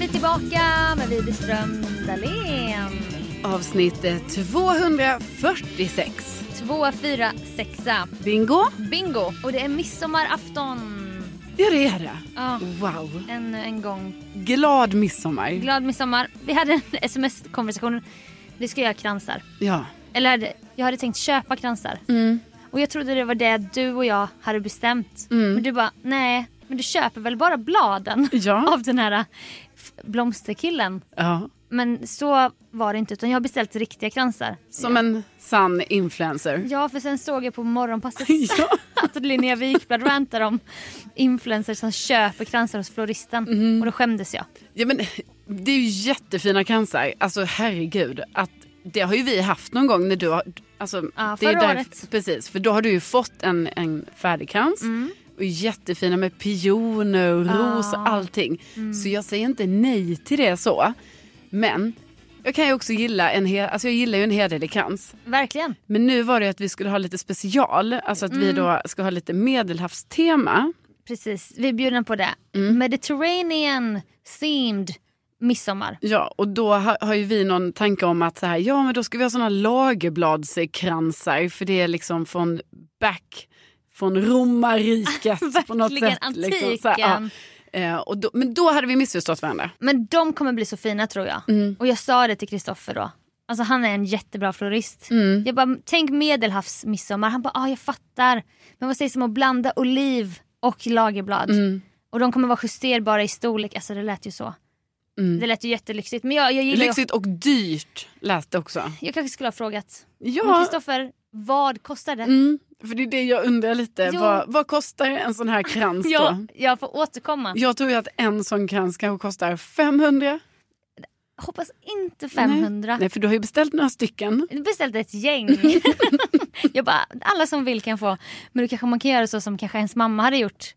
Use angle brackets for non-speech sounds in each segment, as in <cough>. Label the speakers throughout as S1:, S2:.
S1: tillbaka med Widerström Dahlén.
S2: Avsnitt 246.
S1: 246.
S2: Bingo.
S1: Bingo! Och det är midsommarafton.
S2: Ja, det är det.
S1: Ja,
S2: Wow.
S1: ännu en gång.
S2: Glad midsommar.
S1: Glad midsommar. Vi hade en <laughs> sms-konversation. Vi ska göra kransar.
S2: Ja.
S1: Eller hade- jag hade tänkt köpa kransar. Och jag trodde det var det du och jag hade bestämt. Men du bara, nej, men du köper väl bara bladen
S2: Ja.
S1: <laughs> av den här f- blomsterkillen.
S2: ja.
S1: Men så var det inte utan jag har beställt riktiga kransar.
S2: Som en sann influencer.
S1: Ja, för sen såg jag på morgonpasset
S2: Ja.
S1: <laughs> att Linnea Wikblad rantade om influencers som köper kransar hos floristen. Och då skämdes jag.
S2: ja men, det är ju jättefina kransar. Alltså herregud. Att, det har ju vi haft någon gång när du har... Alltså,
S1: Ja,
S2: det är
S1: förra
S2: därför-
S1: året. Mm.
S2: Precis, för då har du ju fått en, en färdig krans. Och jättefina med pioner och ros och allting.
S1: Mm.
S2: Så jag säger inte nej till det så. Men jag kan ju också gilla en, he- alltså jag gillar ju en hederlig krans.
S1: Verkligen.
S2: Men nu var det att vi skulle ha lite special, alltså att
S1: Mm.
S2: vi då ska ha lite medelhavstema.
S1: Precis, vi är bjudna på det. Mediterranean themed midsommar.
S2: Ja, och då ha, har ju vi någon tanke om att så här, ja men då ska vi ha såna lagerbladskransar för det är liksom från back, från
S1: <laughs>
S2: romarriket på något
S1: Verkligen,
S2: sätt. Liksom, så här, ja.
S1: antiken.
S2: Eh, och då, men då hade vi missförstått varandra.
S1: Men de kommer bli så fina tror jag. Och jag sa det till Kristoffer då. Alltså han är en jättebra florist. Jag bara, tänk medelhavsmidsommar. Han bara, ah, jag fattar. Men vad sägs om att blanda oliv och lagerblad?
S2: Mm.
S1: Och de kommer vara justerbara i storlek. Alltså det lät ju så. Det lät ju jättelyxigt. Men jag, jag gillar ju...
S2: Mm. Lyxigt och dyrt lät det också.
S1: Jag kanske skulle ha frågat. Men
S2: Ja,
S1: Kristoffer, vad kostar det?
S2: mm, för det är det jag undrar lite.
S1: Jo.
S2: Vad, vad kostar en sån här krans då?
S1: Jag, jag får återkomma.
S2: Jag tror ju att en sån krans kanske kostar 500.
S1: Hoppas inte 500.
S2: Nej, Mm. för du har ju beställt några stycken.
S1: Jag beställde ett
S2: <laughs>
S1: gäng. <laughs> jag bara, alla som vill kan få. Men då kanske man kan göra så som kanske ens mamma hade gjort.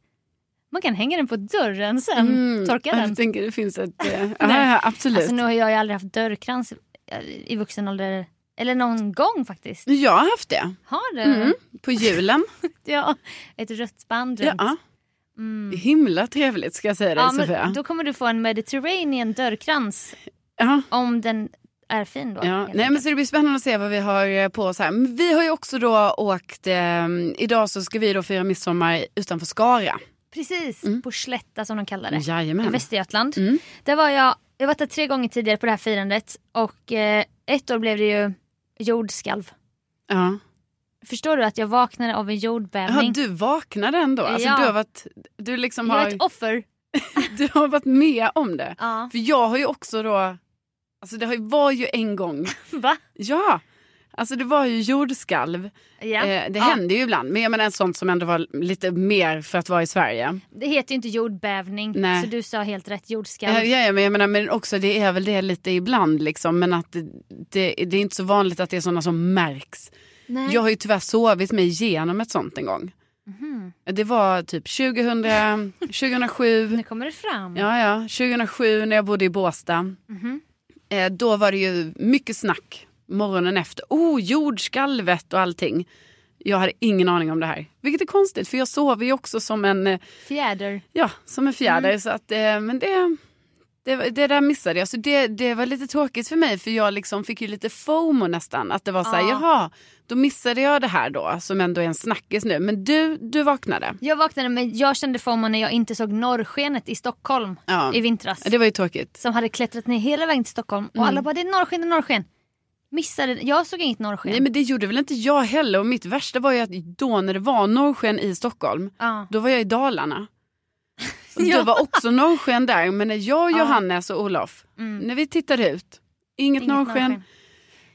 S1: Man kan hänga den på dörren sen.
S2: Mm.
S1: Torka den.
S2: Jag tänker det finns ett...
S1: <laughs>
S2: eh, ja, ja, absolut.
S1: Alltså nu har jag ju aldrig haft dörrkrans eh, i vuxen ålder. Eller någon gång faktiskt.
S2: Jag har haft det.
S1: Har du?
S2: Mm.
S1: <laughs>
S2: På julen.
S1: Ja, ett rött band runt.
S2: ja.
S1: Mm.
S2: Himla trevligt ska jag säga dig
S1: Ja,
S2: Sofia.
S1: men då kommer du få en Mediterranean dörrkrans
S2: Ja,
S1: om den är fin då.
S2: ja.
S1: helt
S2: Nej, men
S1: enkelt.
S2: så det blir spännande att se vad vi har eh, på oss här. Men Vi har ju också då åkt, eh, idag så ska vi då fira midsommar utanför Skara.
S1: Precis, på Slätta som de kallar det. i
S2: Mm. Jajamän.
S1: Västergötland.
S2: Mm.
S1: Där var jag, jag har varit där tre gånger tidigare på det här firandet och eh, ett år blev det ju jordskalv.
S2: Ja.
S1: Förstår du att jag vaknade av en
S2: Ja,
S1: jordbävning?
S2: du vaknade ändå. Alltså,
S1: Ja.
S2: du, har varit, du, liksom
S1: Jag är
S2: har,
S1: ett offer.
S2: <laughs> du har varit med om det.
S1: Ja.
S2: För jag har ju också då, alltså det har ju- var ju
S1: <laughs>
S2: en gång,
S1: <laughs> Va?
S2: ja, alltså det var ju jordskalv.
S1: Ja.
S2: Eh, det
S1: Ja.
S2: hände ju ibland, men jag menar sånt som ändå var lite mer för att vara i Sverige.
S1: Det heter ju inte jordbävning
S2: Nej.
S1: så du sa helt rätt jordskalv.
S2: Eh, Ja, ja, men jag menar, men också det är väl det lite ibland liksom, men att det, det, det är inte så vanligt att det är sådana som märks.
S1: Nej.
S2: Jag har ju tyvärr sovit mig igenom ett sånt en gång. Det var typ 2000, 2007.
S1: Nu kommer det fram.
S2: Ja, Mm. ja. 2007 när jag bodde i Båstad. Eh, då var det ju mycket snack morgonen efter. Oh, jordskalvet och allting. Jag hade ingen aning om det här. Vilket är konstigt för jag sover ju också som en, eh,
S1: Fjäder.
S2: ja, som en fjäder. Så att, eh, men det, det, var- det där missade jag. Så det, det var lite tråkigt för mig för jag liksom fick ju lite fomo nästan. Att det var så här,
S1: Ja.
S2: jaha, då missade jag det här då som ändå är en snackis nu. Men du, du vaknade.
S1: Jag vaknade men jag kände FOMO när jag inte såg norrskenet i Stockholm
S2: Ja.
S1: i vintras.
S2: Det Mm. var ju tråkigt.
S1: Som hade klättrat ner hela vägen till Stockholm och alla bara det är norrsken, det är norrsken. Missade, jag såg inget norrsken.
S2: Nej men det gjorde väl inte jag heller och mitt värsta var ju att då när det var norrsken i Stockholm,
S1: ja.
S2: då var jag
S1: <laughs>
S2: i Dalarna. Och
S1: Ja.
S2: Det var också norrsken där men när jag,
S1: Ja.
S2: Johannes och Olof, när vi tittade ut,
S1: mm.
S2: inget,
S1: Inget
S2: norrsken.
S1: norrsken.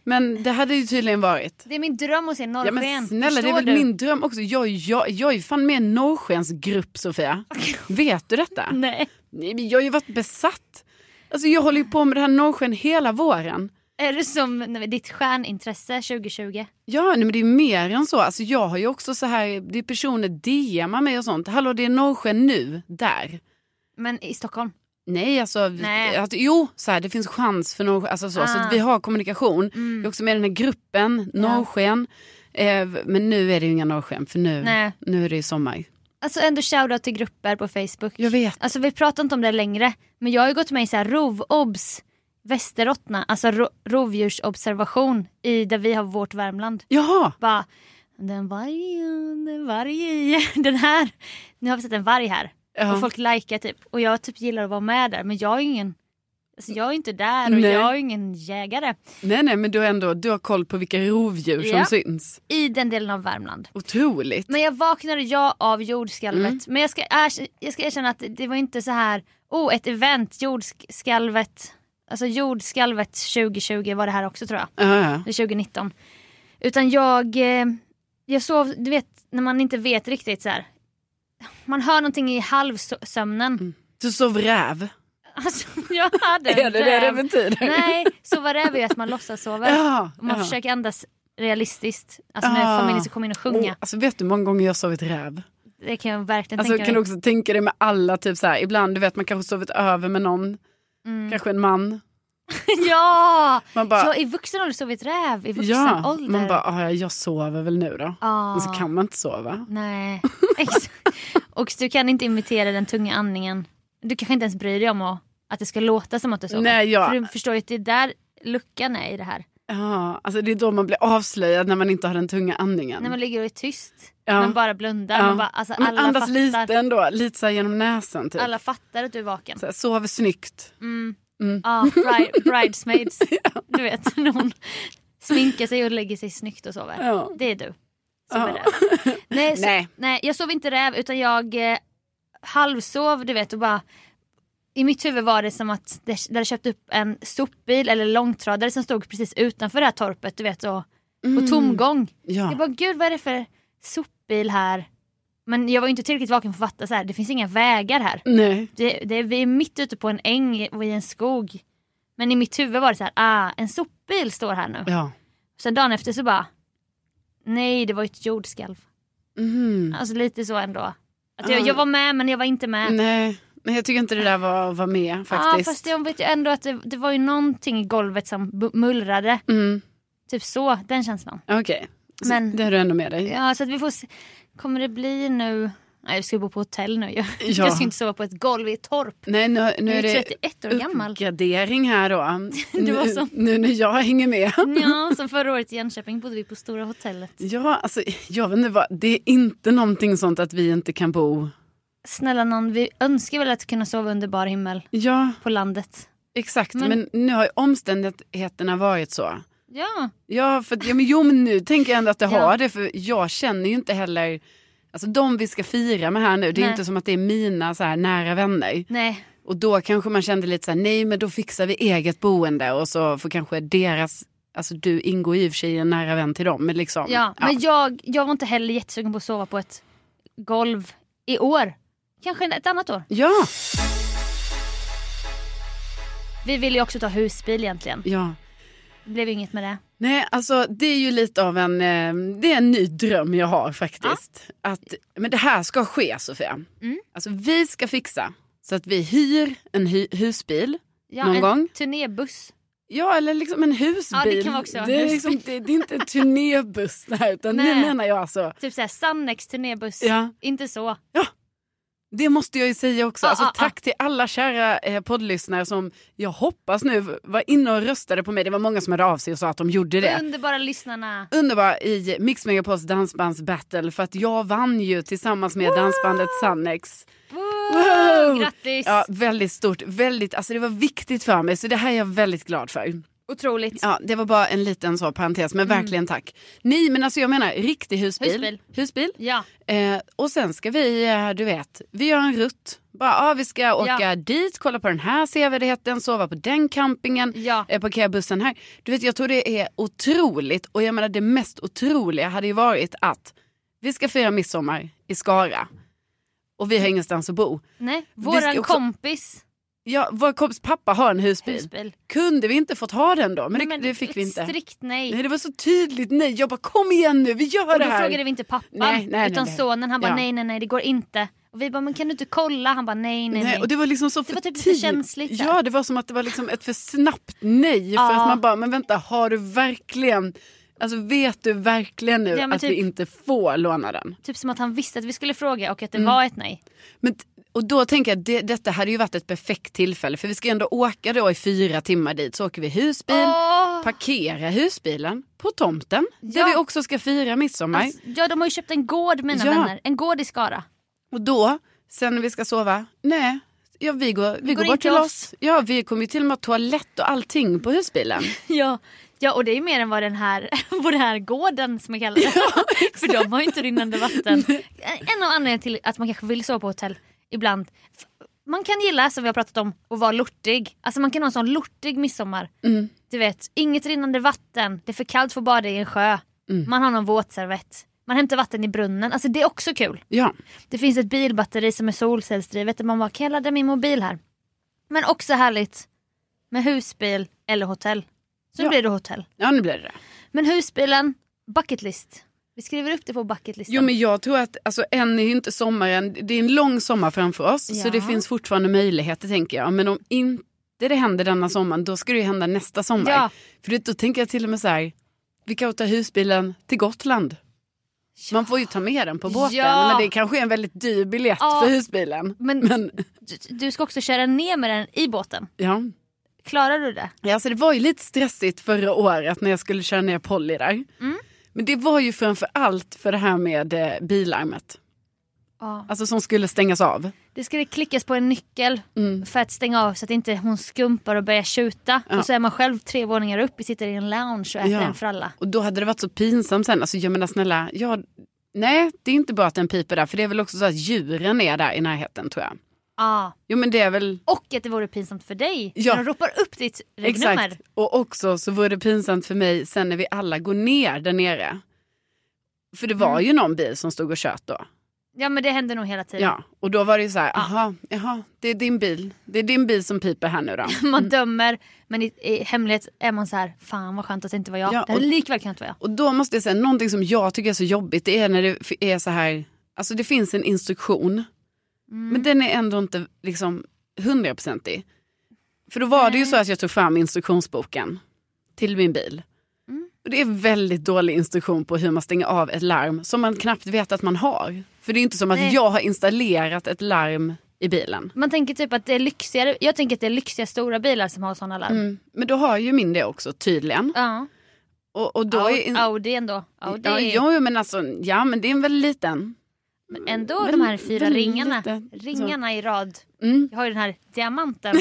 S2: Men det hade ju tydligen varit.
S1: Det är min dröm att se
S2: Ja
S1: norrsken.
S2: men snälla det är
S1: Förstår
S2: väl
S1: du?
S2: min dröm också. Jag, jag, jag är ju fan med i en
S1: <laughs>
S2: norrskensgrupp Sofia. Vet du detta?
S1: Nej.
S2: Nej, men Jag har ju varit besatt. Alltså jag håller ju på med det här norrsken hela våren.
S1: Är det som nej, ditt stjärnintresse 2020?
S2: Ja, nej, men det är mer än så. Alltså, jag har ju också så här, det är personer DMar mig och sånt. Hallå, det är norrsken nu, där.
S1: Men i Stockholm?
S2: Nej, alltså, vi-
S1: Nej.
S2: Att, jo, så här, det finns chans för norrsken. Alltså, så, så
S1: Ah. Mm.
S2: att vi har kommunikation. Jag är också med i den här gruppen, norrsken. Eh, men nu är det ju inga norrsken, för nu,
S1: Nej.
S2: nu är det ju sommar.
S1: Alltså ändå shoutout till grupper på Facebook.
S2: Jag vet.
S1: Alltså vi pratar inte om det längre, men jag har ju gått med i så här rovobs, västerrottna, alltså ro- rovdjursobservation i där vi har vårt Värmland.
S2: Jaha!
S1: Bara, den vargen, den vargen, <laughs> den här. Nu har vi sett en varg här.
S2: Ja.
S1: Och folk likar typ. Och jag typ gillar att vara med där, men jag är ingen Alltså jag är inte där och
S2: Nej.
S1: jag är ingen jägare
S2: Nej, nej, men du har ändå du har koll på vilka rovdjur
S1: Ja.
S2: som syns.
S1: i den delen av Värmland.
S2: Otroligt.
S1: Men jag vaknade ja av jordskalvet.
S2: Mm.
S1: Men jag ska, erk- jag ska erkänna att det var inte så här, oh ett event, jordskalvet. Alltså jordskalvet 2020 var det här också tror jag.
S2: Ja, ja.
S1: Eller 2019. Utan jag, eh, jag sov, du vet när man inte vet riktigt så här. Man hör någonting i halvsömnen.
S2: Du sov räv.
S1: <laughs> Alltså jag
S2: <laughs>
S1: hade en
S2: Eller det är det
S1: räv.
S2: betyder.
S1: Nej, sova räv är ju att man låtsas sova.
S2: Ja,
S1: Och man
S2: ja.
S1: försöker andas realistiskt. Alltså när
S2: Ah.
S1: familjen ska komma in och
S2: Åh,
S1: sjunga.
S2: alltså vet du hur många gånger jag har sovit räv?
S1: Det kan jag verkligen
S2: Alltså,
S1: tänka
S2: kan
S1: mig.
S2: du också tänka dig med alla, typ så här, ibland du vet man kanske sovit över med någon,
S1: Mm.
S2: kanske en man.
S1: <laughs> Ja!
S2: Man bara,
S1: så i vuxen ålder sovit räv, i vuxen
S2: ja.
S1: ålder.
S2: man bara, "Ah, ja, jag sover väl nu då.
S1: Ah.
S2: Men så kan man inte sova.
S1: Nej. <laughs> Ex- och du kan inte imitera den tunga andningen. Du kanske inte ens bryr dig om att, att det ska låta som att du sover.
S2: Nej, jag-
S1: För du förstår ju att det är där luckan är i det här.
S2: Ja, alltså det är då man blir avslöjad när man inte har den tunga andningen.
S1: När man ligger och är tyst,
S2: Ja.
S1: man bara blundar.
S2: Ja.
S1: Man bara, alltså,
S2: Men
S1: alla,
S2: andas
S1: fattar,
S2: lite ändå, lite så här genom näsan typ.
S1: alla fattar att du är vaken. Mm.
S2: Så Mm. här, sover snyggt.
S1: Ja, bride,
S2: <laughs>
S1: bridesmaids. Du vet, när hon sminkar sig och lägger sig snyggt och sover.
S2: Ja.
S1: Det är du. Som är
S2: Ja.
S1: räv.
S2: <laughs>
S1: Nej, så, nej.
S2: Nej.
S1: jag sov inte räv utan jag eh, halvsov du vet och bara i mitt huvud var det som att det, det hade köpt upp en sopbil eller långtradare som stod precis utanför det här torpet du vet och på tomgång.
S2: Mm. Ja.
S1: Jag bara gud vad är det för sopbil här? Men jag var ju inte tillräckligt vaken för att fatta så här. det finns inga vägar här.
S2: Nej.
S1: Det, det, vi är mitt ute på en äng och i en skog. Men i mitt huvud var det så här, ah, en sopbil står här nu.
S2: Ja.
S1: Sen dagen efter så bara, nej det var ju ett jordskalv.
S2: Mhm.
S1: Alltså lite så ändå. Att jag,
S2: Ah.
S1: jag var med men jag var inte med.
S2: Nej. Nej, jag tycker inte det där var, var med
S1: Ja
S2: faktiskt.
S1: fast jag vet ju ändå att det, det var ju någonting i golvet som bu- mullrade.
S2: Mm.
S1: Typ så, den känslan.
S2: Okej, Så
S1: Men-
S2: det har du ändå med dig.
S1: Ja så att vi får se. Kommer det bli nu, nej vi ska ju bo på hotell nu ju. <laughs>
S2: Ja.
S1: Jag ska inte sova på ett golv i ett torp.
S2: Nej, nu, nu
S1: Jag
S2: är
S1: är
S2: det
S1: 31 år
S2: <laughs>
S1: gammal.
S2: uppgradering
S1: <laughs>
S2: här då.
S1: Det var
S2: nu,
S1: som-
S2: nu när jag hänger med.
S1: Ja, som förra året i Jönköping bodde vi på Stora hotellet.
S2: Ja, alltså, jag vet inte vad, det är inte någonting sånt att vi inte kan bo.
S1: Snälla någon, vi önskar väl att kunna sova under bar himmel
S2: Ja,
S1: på landet.
S2: exakt.
S1: Men-
S2: Men, nu har ju omständigheterna varit så.
S1: Ja,
S2: Ja, för, att- ja men, jo, men nu tänker jag ändå att det
S1: <laughs> Ja.
S2: har det. För jag känner ju inte heller... Alltså de vi ska fira med här nu, det är
S1: Nej.
S2: inte som att det är mina så här, nära vänner.
S1: nej.
S2: Och då kanske man kände lite så här, nej men då fixar vi eget boende och så får kanske deras, alltså du ingår i och för sig i en nära vän till dem. Men liksom,
S1: Ja. Men jag, jag var inte heller jättesugen på att sova på ett golv i år. Kanske ett annat år.
S2: ja.
S1: Vi ville ju också ta husbil egentligen.
S2: ja.
S1: Det blev inget med det.
S2: Nej, alltså det är ju lite av en, eh, det är en ny dröm jag har faktiskt. Att, men det här ska ske Sofia.
S1: Mm.
S2: Alltså vi ska fixa så att vi hyr en hy- husbil.
S1: Ja,
S2: Någon
S1: en
S2: gång?
S1: turnébuss.
S2: Ja, eller liksom en husbil.
S1: Ja, det kan vara också en
S2: det, är
S1: husbil.
S2: liksom, det, det är inte en turnébuss där, utan nu
S1: Nej.
S2: menar jag alltså,
S1: Typ såhär Sannex turnébuss.
S2: ja.
S1: Inte så.
S2: Det måste jag ju säga också.
S1: Ah,
S2: alltså,
S1: ah, ah.
S2: tack till alla kära eh, poddlyssnare som jag hoppas nu var inne och röstade på mig. Det var många som hörde av sig och sa att de gjorde det.
S1: Underbara lyssnarna.
S2: Underbar i Mix Megapols dansbandsbattle för att jag vann ju tillsammans med dansbandet Sannex.
S1: Woo!
S2: Wow!
S1: Grattis!
S2: Ja, väldigt stort. Väldigt, alltså det var viktigt för mig så det här är jag väldigt glad för.
S1: Otroligt.
S2: Ja, det var bara en liten så parentes men verkligen tack. Nej men alltså jag menar riktig husbil.
S1: Husbil.
S2: husbil.
S1: Ja.
S2: Eh, och sen ska vi, eh, du vet, vi gör en rutt. Bara, ah, vi ska åka
S1: Ja.
S2: dit, kolla på den här sevärdheten, sova på den campingen,
S1: Ja.
S2: eh, parkera bussen här. Du vet, jag tror det är otroligt. Och jag menar det mest otroliga hade ju varit att vi ska fira midsommar i Skara. Och vi har ingenstans att bo.
S1: Nej.
S2: ska
S1: Våran
S2: också-
S1: kompis
S2: Ja, vår kompis pappa har en husbil.
S1: husbil.
S2: Kunde vi inte fått ha den då? Men,
S1: Men
S2: det, det fick vi
S1: ett
S2: inte.
S1: Strikt nej.
S2: Nej, det var så tydligt nej. Jag bara kom igen nu, vi gör
S1: Och
S2: det
S1: då
S2: här.
S1: frågade vi inte pappan
S2: Nej, nej,
S1: utan
S2: nej, nej.
S1: sonen. Han bara
S2: Ja.
S1: nej nej nej det går inte. Och vi bara men kan du inte kolla? Han bara nej nej nej.
S2: Nej, och det var liksom så för
S1: var typ lite
S2: tid-
S1: känsligt så här.
S2: Ja, det var som att det var liksom ett för snabbt nej.
S1: Ja.
S2: För att man bara, men vänta, har du verkligen Alltså vet du verkligen nu
S1: Ja, men
S2: att
S1: typ-
S2: vi inte får låna den?
S1: Typ som att han visste att vi skulle fråga och att det var ett nej.
S2: Men, t- och då tänker jag att det, detta hade ju varit ett perfekt tillfälle för vi ska ju ändå åka då i fyra timmar dit. Så åker vi husbil,
S1: Åh!
S2: parkera husbilen på tomten
S1: Ja.
S2: där vi också ska fira midsommar.
S1: Alltså, ja de har ju köpt en gård mina
S2: Ja.
S1: vänner. En gård i Skara.
S2: Och då, sen när vi ska sova, nej, ja, vi går,
S1: går
S2: vi går,
S1: in
S2: bort
S1: till
S2: till oss.
S1: oss.
S2: Ja, vi kommer ju till och med ha toalett och allting på husbilen.
S1: <laughs> Ja. ja och det är ju mer än vad den här, <laughs> vad den här gården som jag kallar det. <laughs> För de har ju inte rinnande <laughs> vatten. En av anledningarna till att man kanske vill sova på hotell ibland. Man kan gilla som vi har pratat om att vara lortig. Alltså man kan ha en sån lortig midsommar.
S2: Mm.
S1: Du vet, inget rinnande vatten, det är för kallt för att bada i en sjö. Man har någon våtservett. Man hämtar vatten i brunnen. Alltså det är också kul.
S2: Ja,
S1: Det finns ett bilbatteri som är solcellsdrivet där man bara kan jag ladda min mobil här. Men också härligt med husbil eller hotell. Så nu
S2: Ja.
S1: blir det hotell.
S2: ja nu blir det det.
S1: Men husbilen, bucket list. Vi skriver upp det på bucket listan.
S2: Jo men jag tror att alltså, än är ju inte sommaren, det är en lång sommar framför oss så
S1: Ja.
S2: det finns fortfarande möjligheter tänker jag. Men om inte det händer denna sommaren då ska det ju hända nästa sommar.
S1: Ja.
S2: För det- då tänker jag till och med så här, vi kan ta husbilen till Gotland. Man får ju ta med den på båten
S1: Ja.
S2: men det kanske är en väldigt dyr biljett
S1: Ja.
S2: för husbilen.
S1: Men-
S2: men
S1: du, du ska också köra ner med den i båten.
S2: ja.
S1: Klarar du det?
S2: Ja, alltså det var ju lite stressigt förra året när jag skulle köra ner Polly där.
S1: Mm.
S2: Men det var ju framför allt för det här med eh, bilarmet.
S1: Ja.
S2: Alltså som skulle stängas av.
S1: Det skulle klickas på en nyckel för att stänga av så att inte hon skumpar och börjar tjuta.
S2: Mm. Ja.
S1: Och så är man själv tre våningar upp och sitter i en lounge och äter
S2: Ja.
S1: en fralla.
S2: Och då hade det varit så pinsamt sen. Alltså jag menar snälla, jag... nej det är inte bara att den piper där. För det är väl också så att djuren är där i närheten tror jag.
S1: Ja.
S2: Jo men det är väl...
S1: Och att det vore pinsamt för dig
S2: Ja.
S1: när de ropar upp ditt regnummer.
S2: Exakt. Och också så vore det pinsamt för mig sen när vi alla går ner där nere. För det var ju någon bil som stod och tjöt då.
S1: Ja men det händer nog hela tiden.
S2: Ja, och då var det ju så här, aha, jaha, det är din bil. Det är din bil som piper här nu då.
S1: <laughs> Man dömer men i, i hemlighet är man så här, fan vad skönt att det inte var jag.
S2: Ja,
S1: det hade
S2: och-
S1: likväl kunnat vara jag.
S2: Och då måste jag säga, någonting som jag tycker är så jobbigt det är när det f- är så här, alltså det finns en instruktion
S1: Mm.
S2: men den är ändå inte liksom hundraprocentig. För då var det ju så att jag tog fram instruktionsboken till min bil.
S1: Mm.
S2: Och det är väldigt dålig instruktion på hur man stänger av ett larm som man knappt vet att man har. För det är inte som att
S1: Nej.
S2: jag har installerat ett larm i bilen.
S1: Man tänker typ att det är lyxigare, jag tänker att det är lyxiga stora bilar som har sådana larm.
S2: Mm. Men då har ju min det också tydligen.
S1: Ja.
S2: Och, och då
S1: Au-
S2: är in-
S1: Audi ändå. Audi
S2: ja, jo, men alltså, ja men det är en väldigt liten.
S1: men ändå
S2: väl-
S1: de här fyra
S2: väldigt
S1: ringarna.
S2: lite, Alltså- så.
S1: Ringarna i rad.
S2: Mm.
S1: Jag har ju den här
S2: <laughs>
S1: diamanten.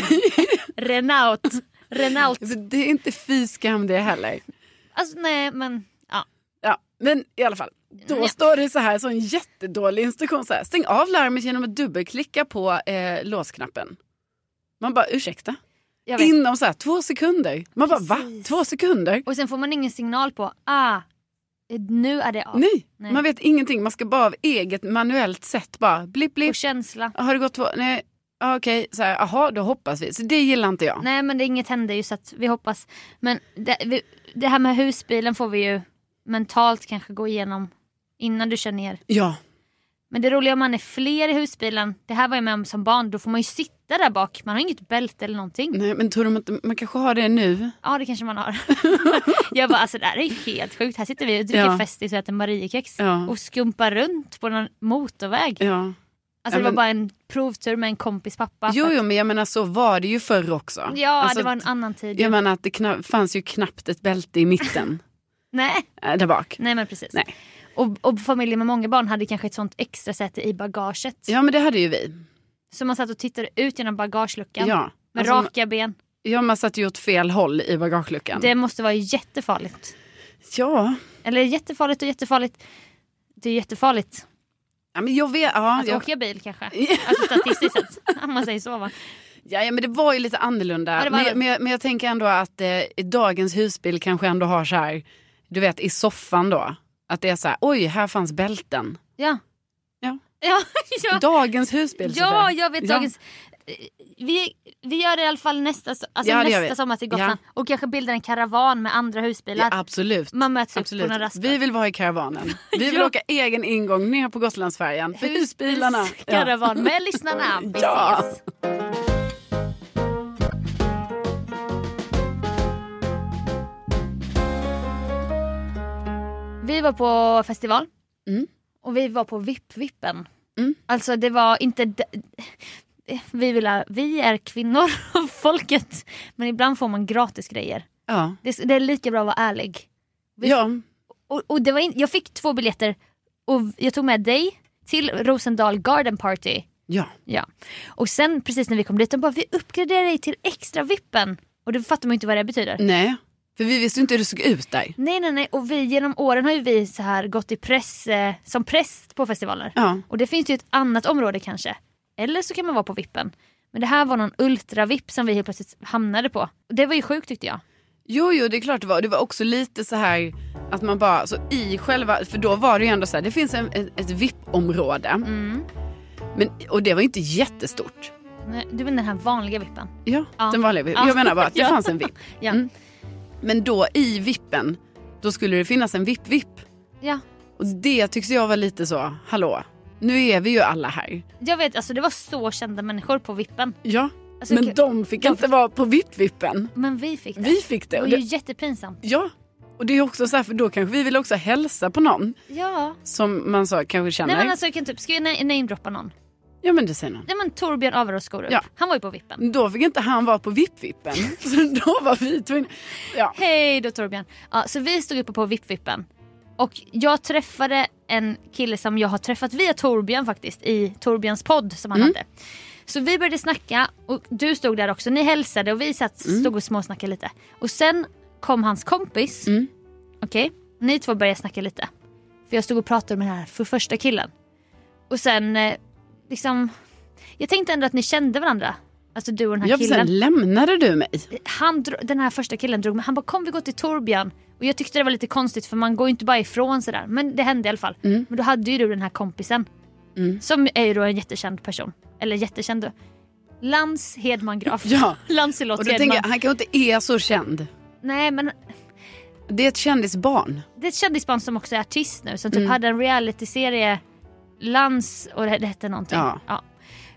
S1: Renault. Renault.
S2: Alltså, det är inte fy skam det heller.
S1: Alltså nej men ja.
S2: Ja, men i alla fall. Då
S1: Ja.
S2: står det så här, så en jättedålig instruktion. Så här, Stäng av larmet genom att dubbelklicka på eh, låsknappen. Man bara, ursäkta?
S1: Jag vet.
S2: Inom så här, två sekunder. Man bara, va?
S1: Precis.
S2: Två sekunder?
S1: Och sen får man ingen signal på, ah nu är det av.
S2: Nej.
S1: Nej.
S2: man vet ingenting. Man ska bara av eget manuellt sätt bara, blipp,
S1: Och
S2: blipp.
S1: känsla.
S2: Har det gått två? Nej. Ja, Okej, så här, aha, då hoppas vi. Så det gillar inte jag.
S1: Nej men det, inget händer ju så att vi hoppas. Men det, vi, det här med husbilen får vi ju mentalt kanske gå igenom innan du kör ner.
S2: Ja,
S1: Men det roliga om man är fler i husbilen, det här var jag med om som barn, då får man ju sitta där bak. Man har inget bälte eller någonting.
S2: nej, men tror de inte, man kanske har det nu.
S1: Ja det kanske man har. <laughs> jag bara alltså det här är ju helt sjukt. Här sitter vi och dricker
S2: Ja.
S1: Festis och äter Mariekex.
S2: Ja.
S1: Och skumpar runt på någon motorväg.
S2: Ja.
S1: Alltså det
S2: Ja,
S1: var
S2: men-
S1: bara en provtur med en kompis pappa.
S2: Jo,
S1: För att-
S2: jo, men jag menar så var det ju förr också.
S1: Ja
S2: Alltså,
S1: det var en annan tid.
S2: Jag menar att det kna- fanns ju knappt ett bälte
S1: <laughs>
S2: i mitten
S1: Nej.
S2: äh, där bak.
S1: Nej men precis.
S2: Nej.
S1: Och, och familjer med många barn hade kanske ett sånt extra säte i bagaget.
S2: Ja men det hade ju vi.
S1: Så man satt och tittade ut genom bagageluckan
S2: Ja.
S1: med
S2: Alltså,
S1: raka ben.
S2: ja man satt ju åt fel håll i bagageluckan.
S1: Det måste vara jättefarligt.
S2: Ja.
S1: Eller jättefarligt och jättefarligt. Det är jättefarligt
S2: ja men jag vet. Ja,
S1: att
S2: jag,
S1: åka bil kanske. Alltså statistiskt sett. <laughs> Om man säger så va.
S2: <laughs> ja, ja men det var ju lite annorlunda.
S1: Ja, det var
S2: men,
S1: det.
S2: jag- men, jag- men jag tänker ändå att eh, dagens husbil kanske ändå har så här. Du vet i soffan då. Att det är så här. Oj här fanns bälten.
S1: Ja.
S2: Ja.
S1: Ja, <laughs> ja.
S2: Dagens husbil.
S1: ja
S2: Sofia.
S1: jag vet dagens. Vi, vi gör det i alla fall nästa, so- alltså
S2: Ja, det gör
S1: nästa
S2: vi.
S1: sommar till Gotland. Och kanske bildar en karavan med andra husbilar.
S2: Ja, absolut.
S1: Man möts upp på
S2: Absolut.
S1: några raster.
S2: Vi vill vara i karavanen. Vi vill
S1: Ja.
S2: åka egen ingång ner på Gotlandsfärjan. För husbilarna. Ja.
S1: Karavan med lyssnarna. Vi
S2: <laughs> Ja.
S1: ses. Vi var på festival
S2: Mm.
S1: och vi var på VIP-vippen.
S2: Mm.
S1: Alltså det var inte... d- Vi, vill, ha- vi är kvinnor <laughs> och folket, men ibland får man gratis grejer.
S2: Ja.
S1: Det, är- det är lika bra att vara ärlig. Vi-
S2: ja.
S1: Och, och det var in, jag fick två biljetter och jag tog med dig till Rosendal Garden Party.
S2: Ja.
S1: Ja. Och sen precis när vi kom dit, de bara vi uppgraderar dig till extra vippen. Och då fattar man ju inte vad det betyder.
S2: Nej. För vi visste ju inte hur det såg ut där.
S1: Nej nej nej och vi genom åren har ju vi så här gått i press eh, som präst på festivaler.
S2: Ja.
S1: Och det finns ju ett annat område kanske. Eller så kan man vara på vippen. Men det här var någon ultra-vipp som vi helt plötsligt hamnade på. Och Det var ju sjukt tyckte jag.
S2: Jo, jo, det är klart det var. Det var också lite så här att man bara, så i själva, för då var det ju ändå så här, det finns en, ett, ett VIP-område.
S1: Mm.
S2: Men, och det var inte jättestort.
S1: Nej, Du menar den här vanliga vippen?
S2: Ja,
S1: Ja.
S2: den vanliga VIP.
S1: Ja.
S2: Jag menar bara att
S1: <laughs>
S2: det
S1: Ja.
S2: fanns en VIP.
S1: Ja.
S2: Mm. Men då i VIPen, då skulle det finnas en VIP-VIP.
S1: ja.
S2: Och det tycks jag var lite så, hallå, nu är vi ju alla här.
S1: Jag vet, alltså det var så kända människor på vippen.
S2: Ja,
S1: Alltså,
S2: men
S1: gud.
S2: de fick inte vara på VIP-VIPen.
S1: Men vi fick det.
S2: Vi fick det.
S1: det
S2: Och
S1: var ju
S2: det
S1: jättepinsamt.
S2: ja, och det är också så här, för då kanske vi vill också hälsa på någon
S1: Ja.
S2: som man så kanske känner.
S1: Nej men alltså jag kan typ, ska jag na- namedroppa någon?
S2: Ja, men det säger någon.
S1: Nej men Torbjörn Averås Skorup,
S2: Ja.
S1: han var ju på vippen.
S2: Då fick inte han vara på
S1: <laughs>
S2: VIP-vippen. Så då var vi tvungna. Ja.
S1: Hej då Torbjörn. Ja, så vi stod uppe på vippvippen. Och jag träffade en kille som jag har träffat via Torbjörn faktiskt i Torbjörns podd som han
S2: Mm.
S1: hade. Så vi började snacka och du stod där också, ni hälsade och vi satt,
S2: Mm.
S1: stod och småsnackade lite. Och sen kom hans kompis,
S2: Mm.
S1: okej, ni två började snacka lite. För jag stod och pratade med den här för första killen. Och sen eh, liksom, jag tänkte ändå att ni kände varandra. Alltså du och den här
S2: Ja, för
S1: killen
S2: sen lämnade du mig.
S1: han, dro- den här första killen drog mig, han bara kom vi går till Torbjörn. Och jag tyckte det var lite konstigt för man går ju inte bara ifrån sådär. Men det hände i alla fall.
S2: Mm.
S1: Men då hade ju du den här kompisen.
S2: Mm.
S1: Som är ju då en jättekänd person. Eller jättekänd. Lans Hedman Graf. <laughs>
S2: Ja. Och
S1: Lancelot
S2: då
S1: Hedman.
S2: tänker jag, han kanske inte är så känd.
S1: Nej men
S2: Det är ett kändisbarn.
S1: det är ett kändisband som också är artist nu. Som
S2: Mm.
S1: typ hade en realityserie. Lans och det, det hette någonting.
S2: Ja.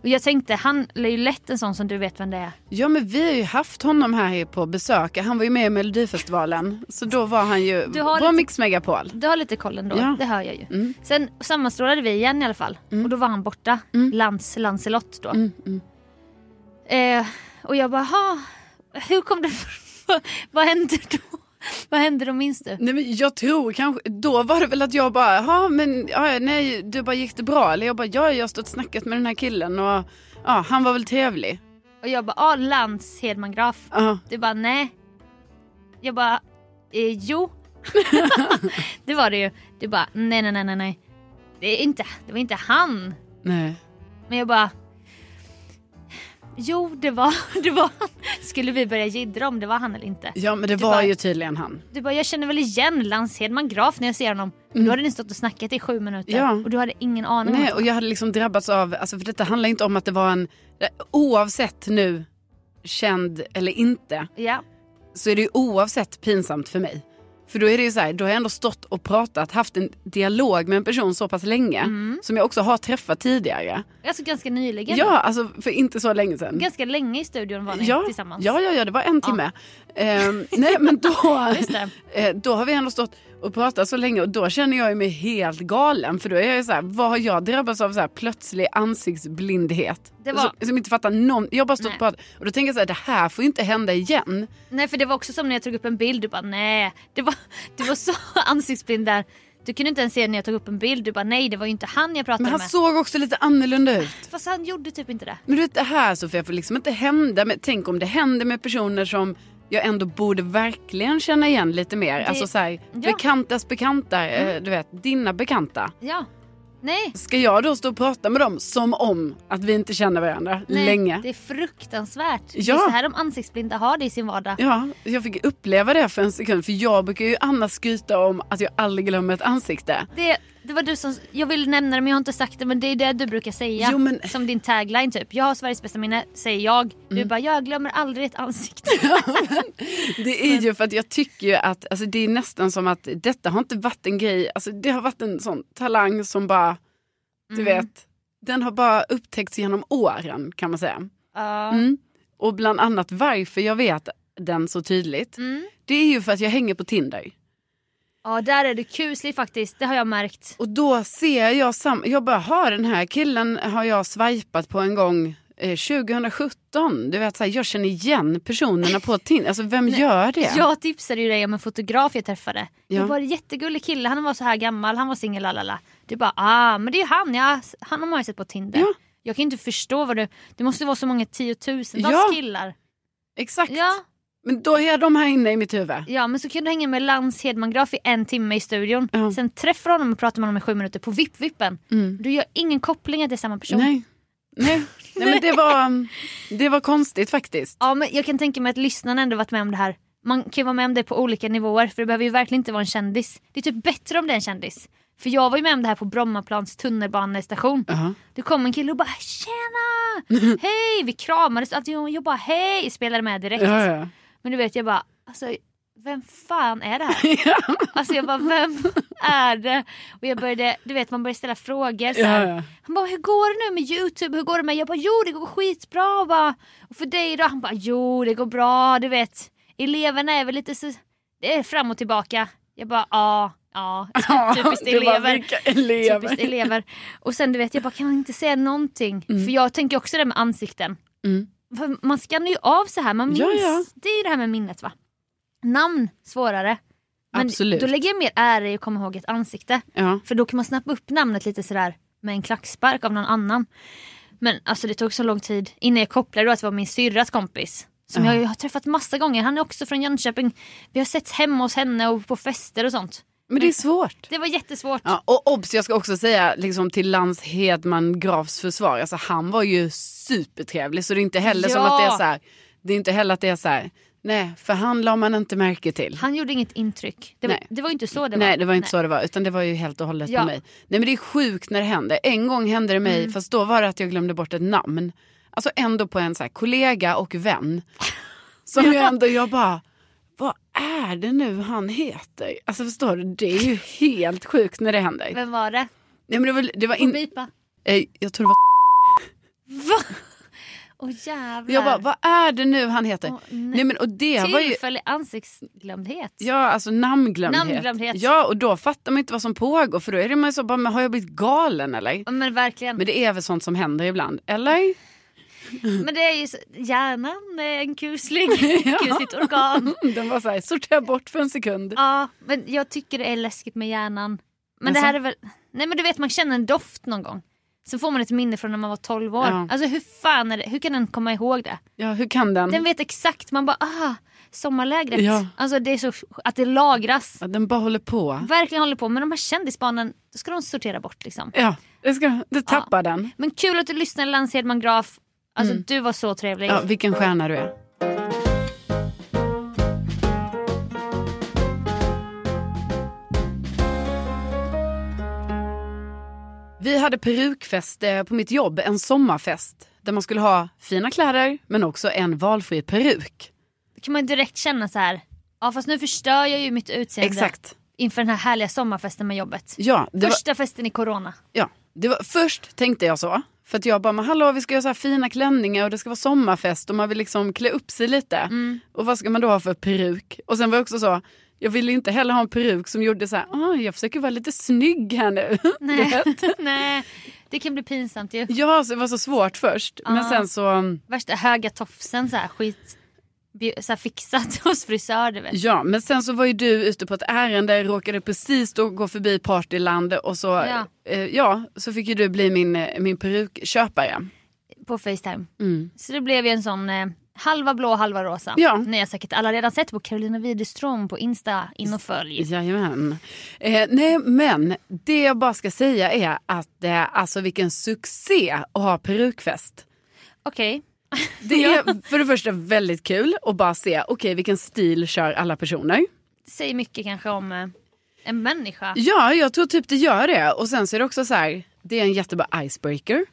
S1: Och jag tänkte han är ju lätt en sån som du vet vem det är.
S2: Ja, men vi har ju haft honom här på besök. Han var ju med i Melodifestivalen. Så då var han ju
S1: Du har
S2: på
S1: lite-
S2: Mix Megapol.
S1: Du har lite koll ändå,
S2: Ja.
S1: det hör jag ju.
S2: Mm.
S1: Sen sammanstrålade vi igen i alla fall och då var han borta, Lans, Lancelot då.
S2: Mm, mm.
S1: Eh, och jag bara, "Ha, hur kom det <laughs> Vad hände då? Vad hände då minns du?
S2: Nej, men jag tror kanske, då var det väl att jag bara, ja men ja, nej, du bara gick det bra? Eller jag bara, ja jag har stått och snackat med den här killen och ja, han var väl trevlig.
S1: Och jag bara, ja ah, Lans Hedman Graf.
S2: Ja.
S1: Du bara, nej. Jag bara, eh, jo. <laughs> det var det ju. Du bara, nej nej nej nej nej. Det, är inte, det var inte han.
S2: Nej.
S1: Men jag bara... Jo, det var, <laughs> det var han. Skulle vi börja jiddra om det var han eller inte?
S2: Ja men det
S1: Du
S2: var
S1: bara-
S2: ju tydligen han.
S1: Du bara, jag känner väl igen Lans Hedman Graf när jag ser honom. Men Då hade ni stått och snackat i sju minuter
S2: Mm. Ja.
S1: och du hade ingen aning om
S2: Nej,
S1: att-
S2: och jag hade liksom drabbats av, alltså för detta handlar inte om att det var en, oavsett nu känd eller inte,
S1: Ja,
S2: så är det ju oavsett pinsamt för mig. För då är det ju så här, då har jag ändå stått och pratat, haft en dialog med en person så pass länge, som jag också har träffat tidigare.
S1: Mm. alltså ganska nyligen.
S2: Mm. Ja, alltså för inte så länge sedan.
S1: Ganska länge i studion var ni
S2: Ja,
S1: tillsammans.
S2: ja, ja, ja, det var en timme. Ehm, nej, men då,
S1: <laughs> Just det.
S2: eh, då har vi ändå stått och pratat så länge och då känner jag ju mig helt galen. För då är jag ju så här, vad har jag drabbats av så här plötslig ansiktsblindhet?
S1: Det var-
S2: som, som inte fattar någon. Jag har bara stått
S1: Nej.
S2: och pratat och då tänker jag så här, det här får ju inte hända igen.
S1: Nej, för det var också som när jag tog upp en bild. Du bara, nej. Det var, du var så <laughs> ansiktsblind där. Du kunde inte ens se när jag tog upp en bild. Du bara, nej det var ju inte han jag pratade
S2: Men han
S1: med.
S2: såg också lite annorlunda ut.
S1: Fast han gjorde typ inte det.
S2: Men du vet det här Sofia får liksom inte hända. Men tänk om det händer med personer som jag ändå borde verkligen känna igen lite mer. Alltså så här,
S1: Ja. Mm.
S2: bekantas bekanta, eh, du vet dina bekanta.
S1: Ja. Nej.
S2: Ska jag då stå och prata med dem som om att vi inte känner varandra
S1: Nej,
S2: länge?
S1: Det är fruktansvärt. Det är
S2: Ja.
S1: så här de ansiktsblinda har det i sin vardag.
S2: Ja, jag fick uppleva det för en sekund. För jag brukar ju annars skryta om att jag aldrig glömmer ett ansikte.
S1: Det, det var du som, jag vill nämna det men jag har inte sagt det men det är det du brukar säga.
S2: Jo, men-
S1: <laughs> Som din tagline typ. Jag har Sveriges bästa minne, säger jag. Du
S2: Mm.
S1: bara, jag glömmer aldrig ett
S2: <laughs>
S1: ansikte.
S2: Det är ju för att jag tycker ju att alltså, det är nästan som att detta har inte varit en grej. Alltså, det har varit en sån talang som bara, du
S1: Mm.
S2: vet, den har bara upptäckts genom åren kan man säga.
S1: Ja.
S2: Mm. Och bland annat
S1: Mm.
S2: varför jag vet den så tydligt. Det är ju för att jag hänger på Tinder.
S1: Ja, där är du kuslig faktiskt. Det har jag märkt.
S2: Och då ser jag samma, jag bara har den här killen har jag swipat på en gång eh, 2017. Du vet så här, jag känner igen personerna på Tinder. Alltså vem gör det?
S1: Jag tipsade ju dig om en fotograf jag träffade.
S2: Ja.
S1: Det var en jättegullig kille, han var så här gammal, han var singel, lalala. Du bara ah, men det är han, ja. han har man ju sett på Tinder.
S2: Ja.
S1: Jag kan inte förstå vad du, det måste vara så många tiotusentals
S2: Ja.
S1: killar.
S2: Exakt.
S1: Ja.
S2: Men då är de här inne i mitt huvud.
S1: ja, men så kan du hänga med Lans Hedman Graf i en timme i studion.
S2: Ja.
S1: Sen träffar du honom och pratar med honom i sju minuter på VIP-vippen.
S2: Mm.
S1: Du gör ingen koppling att det är samma person.
S2: Nej. Nej. Nej men det var, det var konstigt faktiskt.
S1: Ja, men jag kan tänka mig att lyssnarna ändå varit med om det här. Man kan ju vara med om det på olika nivåer för det behöver ju verkligen inte vara en kändis. Det är typ bättre om det är en kändis. För jag var ju med om det här på Brommaplans tunnelbanestation.
S2: Ja.
S1: Det kom en kille och bara
S2: <laughs>
S1: “tjena, hej”, vi kramades och allting. Och jag bara “hej” spelade med direkt. <laughs>
S2: Ja, ja.
S1: Men du vet jag bara alltså, vem fan är det här? Alltså jag bara vem är det? Och jag började, du vet man började ställa frågor så här.
S2: Ja, ja.
S1: Han bara, hur går det nu med Youtube? Hur går det med? Jag bara, jo det går skitbra. Och, bara, och för dig då? Han bara, jo det går bra. Du vet, eleverna är väl lite så, det är fram och tillbaka. Jag bara, ja,
S2: <laughs>
S1: ja. Typiskt
S2: det var
S1: elever.
S2: vilka elever.
S1: Typiskt elever. Och sen du vet, jag bara, kan man inte säga någonting? För jag tänker också det med ansikten.
S2: Mm.
S1: För man skannar ju av så här, man minns.
S2: Ja, ja.
S1: Det är ju det här med minnet va? Namn, svårare. Men
S2: Absolut.
S1: då lägger jag mer ära i att komma ihåg ett ansikte.
S2: Ja.
S1: För då kan man snappa upp namnet lite sådär med en klackspark av någon annan. Men alltså det tog så lång tid innan jag kopplade då att det var min syrras kompis. Som
S2: Ja.
S1: jag ju har träffat massa gånger. Han är också från Jönköping. Vi har sett hemma hos henne och på fester och sånt.
S2: Men det är svårt.
S1: Det var jättesvårt.
S2: Ja, och obs, jag ska också säga liksom, till Lans Hedman Grafs försvar, alltså, han var ju supertrevlig så det är inte heller som
S1: Ja.
S2: att det är så här, det är inte heller att det är så här, nej för han la man inte märke till.
S1: Han gjorde inget intryck. Det,
S2: Nej.
S1: det var ju inte så det var.
S2: nej det var inte så det var utan det var ju helt och hållet
S1: Ja. Mm.
S2: på mig. Nej men det är sjukt när det händer, en gång hände det mig fast då var det att jag glömde bort ett namn. Alltså ändå på en så här, kollega
S1: <laughs>
S2: och vän. Som jag ändå, jag bara, vad är det nu han heter? Alltså förstår du, det är ju helt sjukt när det händer.
S1: Vem var det?
S2: Nej, men det var, det var
S1: Får
S2: in,
S1: bipa.
S2: Eh, Jag tror det var
S1: Va? Åh jävlar.
S2: Jag bara, vad är det nu han heter?
S1: Åh,
S2: nej.
S1: nej.
S2: men och det var ju...
S1: Tillfällig ansiktsglömdhet.
S2: Ja, alltså namnglömdhet.
S1: Namnglömdhet.
S2: Ja, och då fattar man inte vad som pågår för då är det man ju så bara, men har jag blivit galen eller?
S1: Ja, Men verkligen.
S2: Men det är väl sånt som händer ibland,
S1: Mm.
S2: eller?
S1: Men det är ju så, hjärnan är en kusling.
S2: <laughs> <laughs> Ja. Mm,
S1: Kusligt organ.
S2: Den var så här, sortera bort för en sekund.
S1: Ja, men jag tycker det är läskigt med hjärnan. Men
S2: Alltså?
S1: det här är väl... Nej men du vet man känner en doft någon gång. Så får man ett minne från när man var 12 år.
S2: Ja.
S1: Alltså hur fan är det? Hur kan den komma ihåg det?
S2: Ja, hur kan den?
S1: Den vet exakt, man bara ah, sommarlägret.
S2: Ja.
S1: Alltså det är så att det lagras.
S2: Ja, den bara håller på.
S1: Verkligen håller på, men de här kändisbarnen, då ska de sortera bort liksom.
S2: Ja, det, ska, det tappar den.
S1: Men kul att du lyssnade Lans Hedman Graf. Alltså du var så trevlig.
S2: Mm. Ja, vilken stjärna du är. Vi hade perukfest eh, på mitt jobb, en sommarfest. Där man skulle ha fina kläder men också en valfri peruk.
S1: Då kan man ju direkt känna så här. ja fast nu förstör jag ju mitt utseende
S2: Exakt.
S1: inför den här härliga sommarfesten med jobbet.
S2: Ja det, var,
S1: Första festen i corona.
S2: ja, det var först tänkte jag så. För att jag bara, men hallå vi ska göra så här fina klänningar och det ska vara sommarfest och man vill liksom klä upp sig lite. Och vad ska man då ha för peruk? Och sen var jag också så, jag ville ju inte heller ha en peruk som gjorde så här, "Ah, jag försöker vara lite snygg här nu. <laughs>
S1: Nej. <laughs> Nej, det kan bli pinsamt ju.
S2: ja, så det var så svårt först. Men
S1: Ah.
S2: sen så,
S1: Värsta höga tofsen så här skit bju- så här fixat <laughs> hos frisör du vet.
S2: ja, men sen så var ju du ute på ett ärende, råkade precis då gå förbi Partyland och så, ja,
S1: Ja.
S2: eh, ja så fick ju du bli min, eh, min perukköpare.
S1: På Facetime.
S2: Mm.
S1: Så det blev ju en sån eh, halva blå halva rosa.
S2: Ja.
S1: Ni har säkert alla redan sett på Carolina Widerström på Insta. In och följ.
S2: Jajamän. Eh, nej, men det jag bara ska säga är att eh, alltså vilken succé att ha perukfest.
S1: Okej.
S2: Det är för det första väldigt kul att bara se, okej vilken stil kör alla personer.
S1: Säger mycket kanske om eh, en människa.
S2: Ja, jag tror typ det gör det. Och sen så är det också så här, det är en jättebra icebreaker.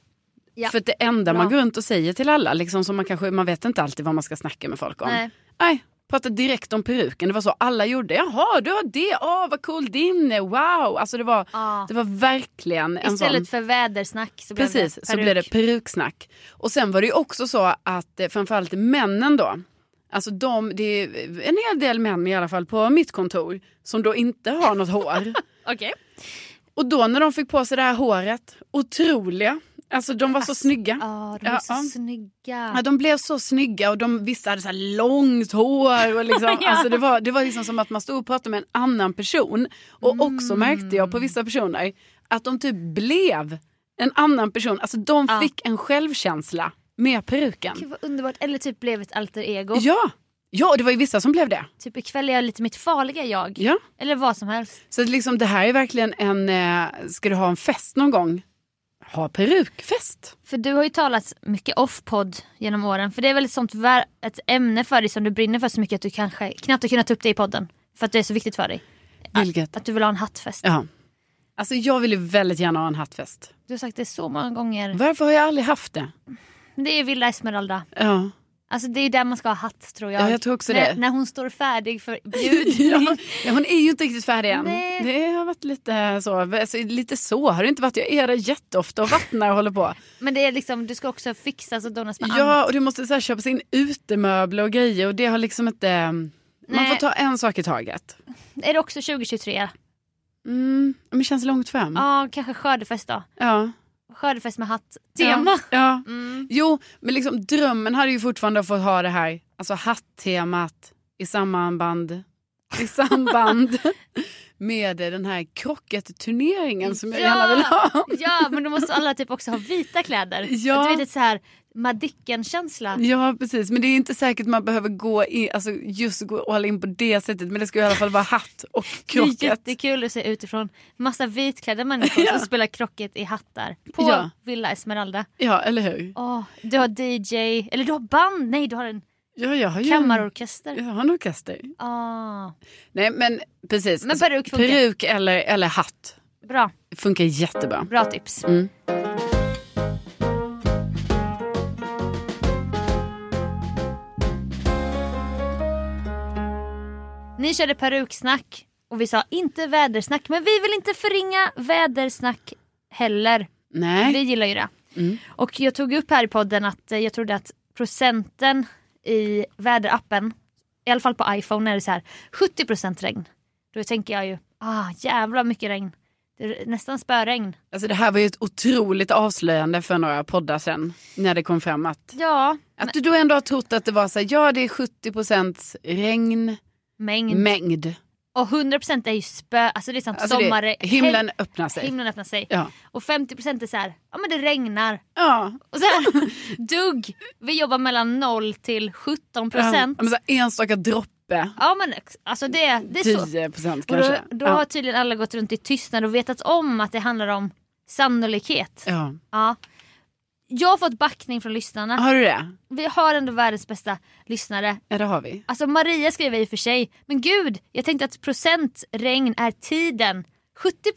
S1: Ja.
S2: För att det enda man
S1: Bra.
S2: går runt och säger till alla, liksom, som man, kanske, man vet inte alltid vad man ska snacka med folk om.
S1: Nej.
S2: Nej, prata direkt om peruken. Det var så alla gjorde. Jaha, du har det. Åh, vad cool din är. Wow. Alltså det var,
S1: Ja.
S2: det var verkligen en
S1: Ah. Istället
S2: sån...
S1: för vädersnack så blev
S2: Precis,
S1: det
S2: så blev det
S1: peruk.
S2: peruksnack. Och sen var det ju också så att eh, framförallt männen då Alltså de, det är en hel del män i alla fall på mitt kontor som då inte har
S1: <laughs>
S2: något hår.
S1: Okej.
S2: Och då när de fick på sig det här håret, otroliga. Alltså de var så snygga.
S1: Ja, Ah, de är
S2: Ja,
S1: så
S2: ja.
S1: snygga.
S2: Ja, de blev så snygga och de vissa hade så här långt hår. Och liksom,
S1: Ja.
S2: alltså det, var, det var liksom som att man stod och pratade med en annan person. Och också märkte jag på vissa personer att de typ blev en annan person. Alltså de
S1: Ja.
S2: fick en självkänsla med peruken.
S1: Gud vad underbart. Eller typ blev ett alter ego.
S2: Ja, ja och det var ju vissa som blev det.
S1: Typ ikväll är jag lite mitt farliga jag.
S2: Ja.
S1: Eller vad som helst.
S2: Så att liksom, det här är verkligen en, eh, ska du ha en fest någon gång? Ha perukfest.
S1: För du har ju talat mycket off-podd genom åren. För det är väl ett sånt vär- ett ämne för dig som du brinner för så mycket att du kanske knappt har kunnat ta upp det i podden. För att det är så viktigt för dig.
S2: Vilket?
S1: Att du vill ha en hattfest.
S2: Ja. Alltså jag vill ju väldigt gärna ha en hattfest.
S1: Du har sagt det så många gånger.
S2: Varför har jag aldrig haft det?
S1: Men det är Villa Esmeralda.
S2: Ja.
S1: Alltså det är ju där man ska ha hatt tror jag.
S2: Ja, jag tror också
S1: när,
S2: det.
S1: När hon står färdig
S2: <laughs>
S1: för
S2: Ja,
S1: bjudning.
S2: ja, hon är ju inte riktigt färdig än.
S1: Nej.
S2: Det har varit lite så. Alltså, lite så har det inte varit. Jag är där jätteofta och vattnar och
S1: <laughs>
S2: håller på.
S1: Men det är liksom, du ska också fixas och donas med annat.
S2: Ja, och det måste så här, köpas in utemöbler och grejer och det har liksom inte... Man
S1: Nej.
S2: får ta en sak i taget.
S1: Är det också 2023? Ja,
S2: Mm, men det känns långt fram.
S1: kanske skördefest då.
S2: Ja.
S1: Skördefest med hatt. Tema.
S2: Ja. ja.
S1: Mm.
S2: Jo, men liksom drömmen hade ju fortfarande fått ha det här alltså hatt-temat i samband,
S1: <laughs>
S2: i samband med den här krocketturneringen som jag gärna vill ha.
S1: ja, men då måste alla typ också ha vita kläder.
S2: Ja.
S1: Du vet, ett så här Madicken-känsla.
S2: Ja, precis. Men det är inte säkert man behöver gå in, alltså just gå all in på det sättet. Men det ska ju i alla fall vara hatt och
S1: <laughs> Det är
S2: krocket.
S1: jättekul att se utifrån massa vitklädda människor som spelar krocket i hattar på
S2: Ja.
S1: Villa Esmeralda.
S2: Ja, eller hur?
S1: Åh, du har DJ, eller du har band, nej du har en
S2: Ja, jag har ju en,
S1: kammarorkester.
S2: jag har en orkester.
S1: Ah,
S2: Nej, men precis. Alltså,
S1: Men peruk funkar.
S2: Peruk eller, eller hatt
S1: bra,
S2: funkar jättebra.
S1: bra tips.
S2: Mm.
S1: Ni körde peruksnack och vi sa inte vädersnack men vi vill inte förringa vädersnack heller. Vi
S2: Nej.
S1: gillar ju det.
S2: Mm.
S1: Och jag tog upp här i podden att eh, jag trodde att procenten i väderappen, i alla fall på iPhone är det så här 70% regn. Då tänker jag ju, ah jävla mycket regn. Det är nästan spöregn.
S2: Alltså det här var ju ett otroligt avslöjande för några poddar sen. När det kom fram att,
S1: Ja,
S2: att du då ändå har trott att det var så här, ja det är 70% regnmängd.
S1: mängd. och 100% är ju spö, alltså det är sånt
S2: Mm. Alltså
S1: sommar...
S2: det, himlen öppnar sig.
S1: himlen öppnar sig.
S2: Ja.
S1: Och 50% är så här, ja men det regnar.
S2: Ja.
S1: Och sen <laughs> dugg, vi jobbar mellan 0 till 17
S2: Ja,
S1: procent.
S2: men så här, enstaka droppe.
S1: Ja men ex- alltså det, det är <laughs> så.
S2: 10 procent
S1: Och då,
S2: kanske.
S1: då
S2: ja.
S1: har tydligen alla gått runt i tystnad och vetat om att det handlar om sannolikhet.
S2: Ja.
S1: Ja. Jag har fått backning från lyssnarna.
S2: Har du det?
S1: Vi har ändå världens bästa lyssnare.
S2: Ja det har vi.
S1: Alltså Maria skriver i och för sig, men gud jag tänkte att procent regn är tiden.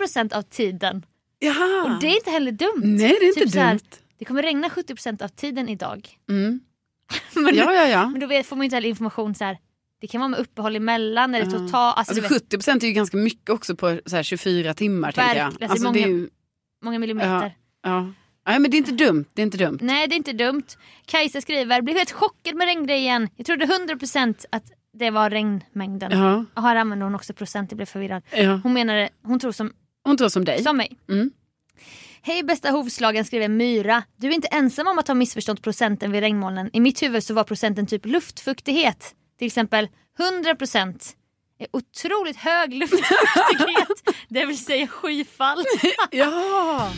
S1: 70% av tiden.
S2: Jaha.
S1: Och det är inte heller dumt.
S2: Nej det är inte
S1: Typ så här,
S2: dumt.
S1: Det kommer regna 70% av tiden idag.
S2: Mm.
S1: <laughs> Men- Alltså,
S2: Ja ja ja.
S1: Men då vet, får man ju inte heller information så här. Det kan vara med uppehåll emellan eller
S2: Ja.
S1: totalt. Alltså,
S2: Alltså
S1: du vet,
S2: 70 procent är ju ganska mycket också på så här, 24 timmar tänker jag.
S1: Verkligen. Alltså,
S2: Alltså, det är ju,
S1: många millimeter.
S2: Ja. ja. Nej men det är inte dumt. Det är inte dumt.
S1: Nej det är inte dumt. Kajsa skriver, blev helt chockad med regngrejen. Jag trodde 100% att det var regnmängden.
S2: Ja.
S1: Och Här använder hon också procent, jag blev förvirrad.
S2: ja.
S1: Hon menade, hon tror som,
S2: Hon tror som dig.
S1: som mig.
S2: Mm.
S1: Hej bästa hovslagen skriver Myra. Du är inte ensam om att ha missförstått procenten vid regnmolnen. I mitt huvud så var procenten typ luftfuktighet. Till exempel 100% är otroligt hög luftfuktighet.
S2: <laughs>
S1: det vill säga skyfall.
S2: Ja,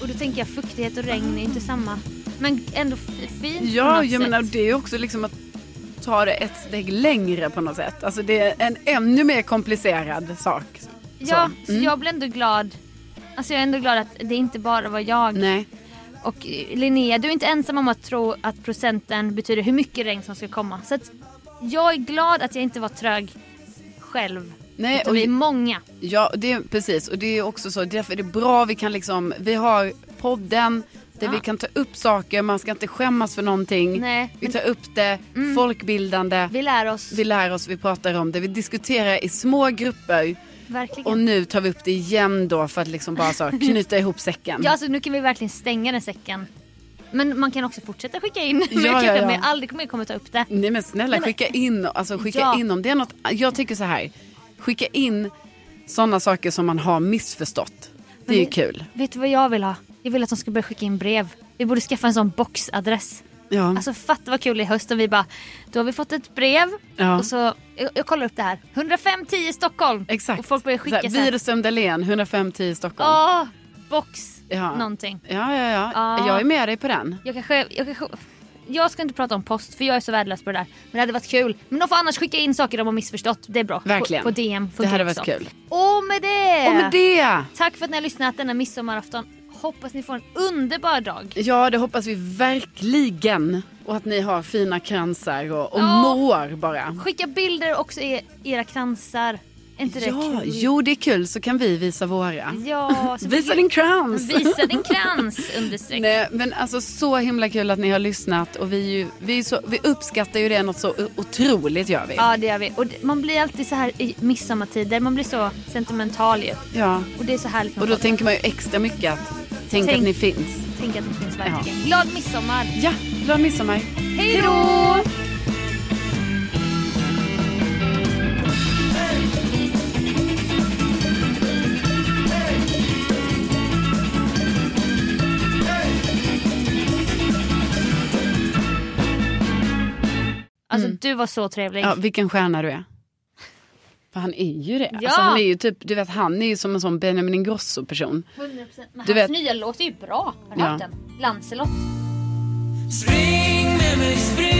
S1: Och då tänker jag fuktighet och regn är inte samma. Men ändå f- fint på
S2: ja
S1: något
S2: jag
S1: sätt.
S2: menar det är ju också liksom att ta det ett steg längre på något sätt. Alltså det är en ännu mer komplicerad sak.
S1: Ja,
S2: Så. Mm.
S1: så jag blir ändå glad. Alltså jag är ändå glad att det inte bara var jag.
S2: Nej.
S1: Och eh, Linnea, du är inte ensam om att tro att procenten betyder hur mycket regn som ska komma. Så att jag är glad att jag inte var trög själv.
S2: Nej,
S1: Utan vi är många.
S2: Ja, det är, precis. Och det är också så. Därför är det bra vi kan liksom, vi har podden där
S1: Ja.
S2: vi kan ta upp saker, man ska inte skämmas för någonting.
S1: Nej, Mm.
S2: vi tar upp det, folkbildande,
S1: Vi lär oss.
S2: vi lär oss, vi pratar om det, vi diskuterar i små grupper
S1: Verkligen.
S2: och nu tar vi upp
S1: <laughs>
S2: det igen då för att liksom bara så knyta ihop säcken.
S1: Ja, alltså, nu kan vi verkligen stänga den säcken. Men man kan också fortsätta skicka in. <laughs> Men
S2: Ja,
S1: jag
S2: ja,
S1: kanske
S2: ja.
S1: Med aldrig kommer jag kommer ta upp det.
S2: Nej men snälla
S1: Nej, men-
S2: skicka in, alltså, skicka
S1: Ja.
S2: in om det är något. Jag tycker så här, skicka in sådana saker som man har missförstått. Det är ju
S1: Men-
S2: kul.
S1: Vet du vad jag vill ha? Jag vill att de ska börja skicka in brev. Vi borde skaffa en sån boxadress.
S2: Ja.
S1: Alltså fatta vad kul i höst om vi bara, då har vi fått ett brev
S2: Ja.
S1: och så, jag, jag kollar upp det här, 10510 Stockholm.
S2: Exakt.
S1: Och folk börjar skicka så här,
S2: Widerström Dahlén, 10510 Stockholm.
S1: Åh, box
S2: Ja.
S1: någonting.
S2: Ja, ja, ja.
S1: Ja.
S2: Jag är med dig på den.
S1: Jag kanske, jag kanske, jag ska inte prata om post för jag är så värdelös på det där. Men det hade varit kul. Men de får annars skicka in saker de har missförstått. Det är bra.
S2: Verkligen.
S1: På, på DM funkar
S2: Det hade varit
S1: också. Eh.
S2: kul.
S1: Och med det!
S2: Och med det!
S1: Tack för att ni har lyssnat denna midsommarafton. Hoppas ni får en underbar dag.
S2: Ja, det hoppas vi verkligen. Och att ni har fina kransar och, och
S1: Ja.
S2: mår bara.
S1: Skicka bilder också i era kransar. Är inte det Mm.
S2: Ja,
S1: kul?
S2: jo det är kul så kan vi visa våra.
S1: Ja, så
S2: Visa
S1: mycket-
S2: din krans!
S1: Visa din krans understreck.
S2: Nej, men alltså så himla kul att ni har lyssnat och vi, är ju, vi, är så, vi uppskattar ju det något så o- otroligt gör vi.
S1: Ja det gör vi. Och d- man blir alltid så här i midsommartider, man blir så sentimental ju.
S2: Ja.
S1: Och det är så härligt
S2: Och
S1: med
S2: då
S1: folk.
S2: tänker man ju extra mycket att tänk,
S1: Tänk.
S2: att ni finns.
S1: Tänk att det finns verkligen. Glad midsommar!
S2: Ja, glad midsommar.
S1: Hej då! Alltså du var så trevlig.
S2: Mm. Ja, vilken stjärna du är. För han är ju det.
S1: Ja.
S2: Alltså, han är ju typ, du vet han är ju som en sån Benjamin Ingrosso-person.
S1: 100%. Men
S2: Du
S1: hans
S2: vet-
S1: nya låt är ju bra. Har du
S2: Ja.
S1: hört den? Lancelot.
S3: Spring med mig, spring